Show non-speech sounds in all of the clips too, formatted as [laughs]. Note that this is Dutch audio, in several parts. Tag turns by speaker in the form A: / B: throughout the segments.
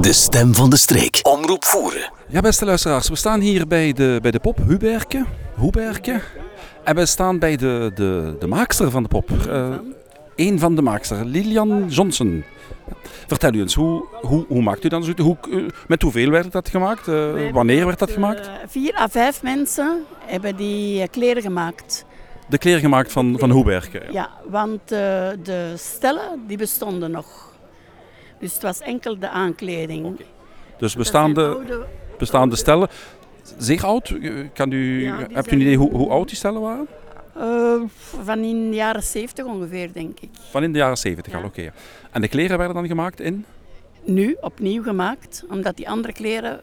A: De stem van de streek. Omroep voeren.
B: Ja, beste luisteraars, we staan hier bij de, bij de pop Huberke. Huberke. En we staan bij de, de, de maakster van de pop. Eén van de maakster, Lilian Johnson. Vertel u eens, hoe, hoe, hoe maakt u dan zoiets? Hoe, eh, met hoeveel werd dat gemaakt? Eh,
C: Wij
B: wanneer werd dat gemaakt?
C: Eh, vier à vijf mensen hebben die eh, kleren gemaakt.
B: De kleren gemaakt van, van Huberke.
C: Ja, want eh, de stellen die bestonden nog. Dus het was enkel de aankleding.
B: Dus
C: Dat zijn
B: bestaande,
C: oude-
B: bestaande stellen. Zeer oud? Eh, Kan u,
C: Ja, die
B: hebt u
C: zijn-
B: een idee hoe, hoe oud die stellen waren?
C: eh, van in de jaren zeventig ongeveer, denk ik.
B: Van in de jaren 70 al,
C: Ja.
B: oké. En de kleren werden dan gemaakt in?
C: Nu opnieuw gemaakt, omdat die andere kleren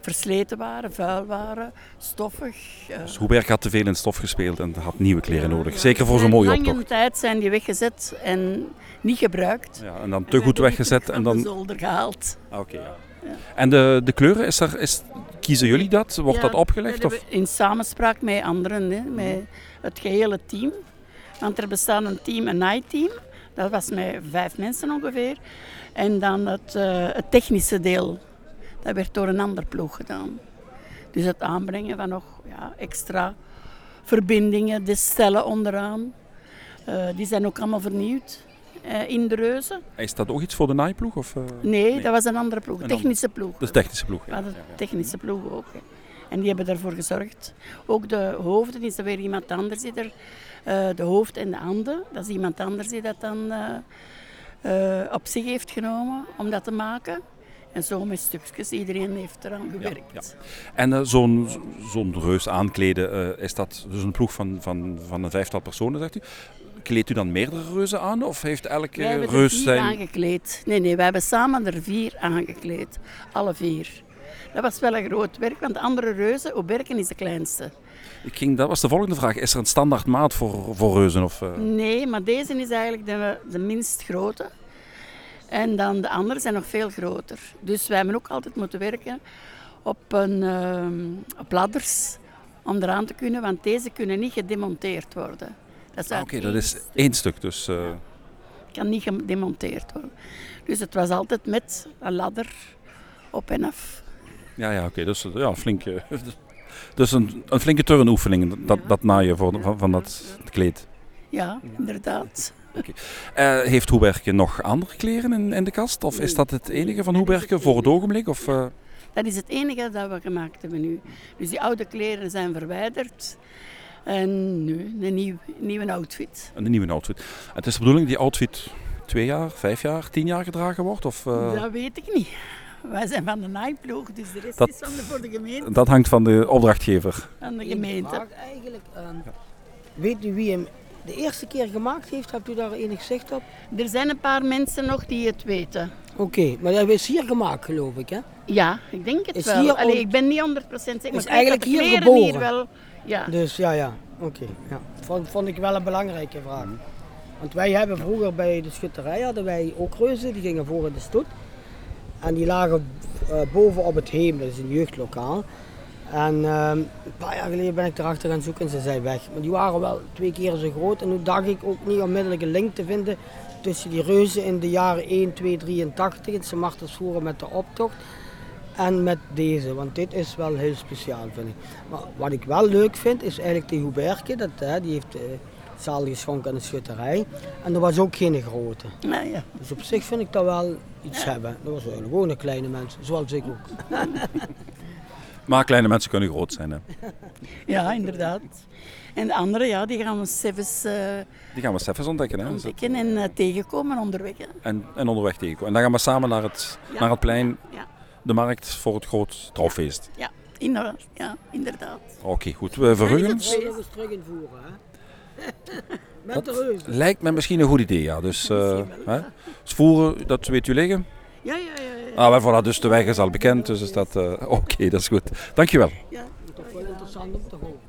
C: versleten waren, vuil waren, stoffig. eh.
B: Dus Hubert had te veel in stof gespeeld en had nieuwe kleren nodig.
C: Ja,
B: Zeker voor
C: die
B: zo'n
C: zijn
B: mooie
C: Lang
B: optocht.
C: een tijd zijn die weggezet en niet gebruikt.
B: Ja, en dan te goed weggezet en dan...
C: De dus zolder gehaald.
B: Ah, oké, ja. En de, de kleuren, is er, is, kiezen jullie dat? Wordt
C: Ja,
B: dat opgelegd?
C: dat
B: Of? Mhm.
C: hebben we In samenspraak met anderen, hè, met het gehele team. Want er bestaat een team, een night-team. Dat was met vijf mensen ongeveer. En dan het, eh, het technische deel. Dat werd door een ander ploeg gedaan. Dus het aanbrengen van nog ja, extra verbindingen, de stellen onderaan. Eh, die zijn ook allemaal vernieuwd eh, in de Reuzen.
B: Is dat ook iets voor de naaiploeg? Of, eh?
C: Nee,
B: Nee.
C: dat was een andere ploeg,
B: Een
C: technische ploeg.
B: Dat is technische ploeg.
C: We
B: Ja. Mhm.
C: hadden technische ploeg ook. hè. En die hebben daarvoor gezorgd. Ook de hoofden is er weer iemand anders die er. eh, de hoofd en de handen, dat is iemand anders die dat dan eh, eh, op zich heeft genomen om dat te maken. En zo met stukjes, iedereen heeft eraan gewerkt.
B: En eh, zo'n zo'n reus aankleden, eh, is dat dus een ploeg van, van, van een vijftal personen, zegt u? Kleedt u dan meerdere reuzen aan of heeft elke
C: Wij hebben er
B: reus
C: vier
B: zijn...
C: aangekleed. Nee, nee, wij hebben samen er vier aangekleed. Alle vier. Dat was wel een groot werk, want de andere reuzen, Oberken is de kleinste.
B: Ik ging, dat was de volgende vraag. Is er een standaard maat voor, voor reuzen? Of, eh?
C: Nee, maar deze is eigenlijk de, de minst grote. En dan de anderen zijn nog veel groter. Dus wij hebben ook altijd moeten werken op, een, ehm, op ladders om eraan te kunnen, want deze kunnen niet gedemonteerd worden. Dat is
B: Ah,
C: uit
B: Oké,
C: één
B: dat is één stuk. Dus, eh,
C: kan niet gedemonteerd worden. Dus het was altijd met een ladder op en af.
B: ja, ja, oké. dus eh, ja, flink, eh, [laughs] dus een, een flinke turnoefening, dat, dat naaien voor, van, van dat kleed.
C: Ja, inderdaad.
B: Eh, heeft Hoeberken nog andere kleren in, in de kast? Of is dat het enige van Hoeberken voor het ogenblik? Of, eh,
C: Dat is het enige dat we gemaakt hebben nu. Dus die oude kleren zijn verwijderd. En nu een nieuw, nieuwe outfit.
B: een nieuwe outfit. Het is de bedoeling dat die outfit twee jaar, vijf jaar, tien jaar gedragen wordt? Of, eh,
C: Dat weet ik niet. Wij zijn van de naaiploeg, dus de rest
B: Dat-
C: is van de, voor de gemeente.
B: Dat hangt van de opdrachtgever.
C: Van de
D: Ik
C: gemeente.
D: vraag eigenlijk aan- Weet u wie hem de eerste keer gemaakt heeft? Hebt u daar enig zicht op?
C: Er zijn een paar mensen nog die het weten.
D: Oké, maar hij is hier gemaakt, geloof ik. Hè?
C: Ja, ik denk het
D: Is
C: wel.
D: hier
C: Allee,
D: on-
C: ik ben niet 100% zeker. maar ik
D: Is
C: weet
D: eigenlijk
C: dat de
D: hier
C: kleren
D: geboren?
C: Hier wel, ja.
D: Dus ja, ja. Oké. ja. Vond, vond ik wel een belangrijke vraag. Want wij hebben vroeger bij de schutterij hadden wij ook reuzen, die gingen voor in de stoet. En die lagen eh, boven op het heem, dat is een jeugdlokaal. En ehm, een paar jaar geleden ben ik erachter gaan zoeken en ze zijn weg. Maar die waren wel twee keer zo groot. En nu dacht ik ook niet onmiddellijk een link te vinden tussen die reuzen in de jaren 1, 2, 83, in Sint Martensvoeren met de optocht. En met deze, want dit is wel heel speciaal, vind ik. Maar wat ik wel leuk vind, is eigenlijk die Huberke. Dat, hè, die heeft eh, zaal geschonken aan de schutterij. En er was ook geen grote.
C: Nou ja.
D: Dus op zich vind ik dat wel iets hebben. Dat was wel gewoon een kleine mens, zoals ik ook.
B: Maar kleine mensen kunnen groot zijn. Hè.
C: ja, inderdaad. En de anderen, ja, die gaan we zelfs eh
B: Die gaan we zelf eens ontdekken. Hè.
C: ontdekken en eh, tegenkomen onderweg. hè.
B: En, en onderweg tegenkomen. En dan gaan we samen naar het,
C: Ja.
B: naar het plein,
C: Ja,
B: de markt, voor het groot trouwfeest.
C: ja, inderdaad. eh, Ja, inderdaad.
B: Oké, goed. We verheugen
C: het
B: ons.
C: Zou je nog
D: eens terug invoeren, hè? [laughs] Met
B: Dat
D: de reuzen.
B: lijkt me misschien een goed idee, ja. Dus, eh hè? Dus voeren, dat weet u liggen.
C: Ja, ja, ja. ja.
B: Ah, maar voilà, [laughs] dus de weg is al bekend, dus is dat... eh, Oké, dat is goed. Dankjewel.
C: ja.
D: Toch wel interessant om te horen.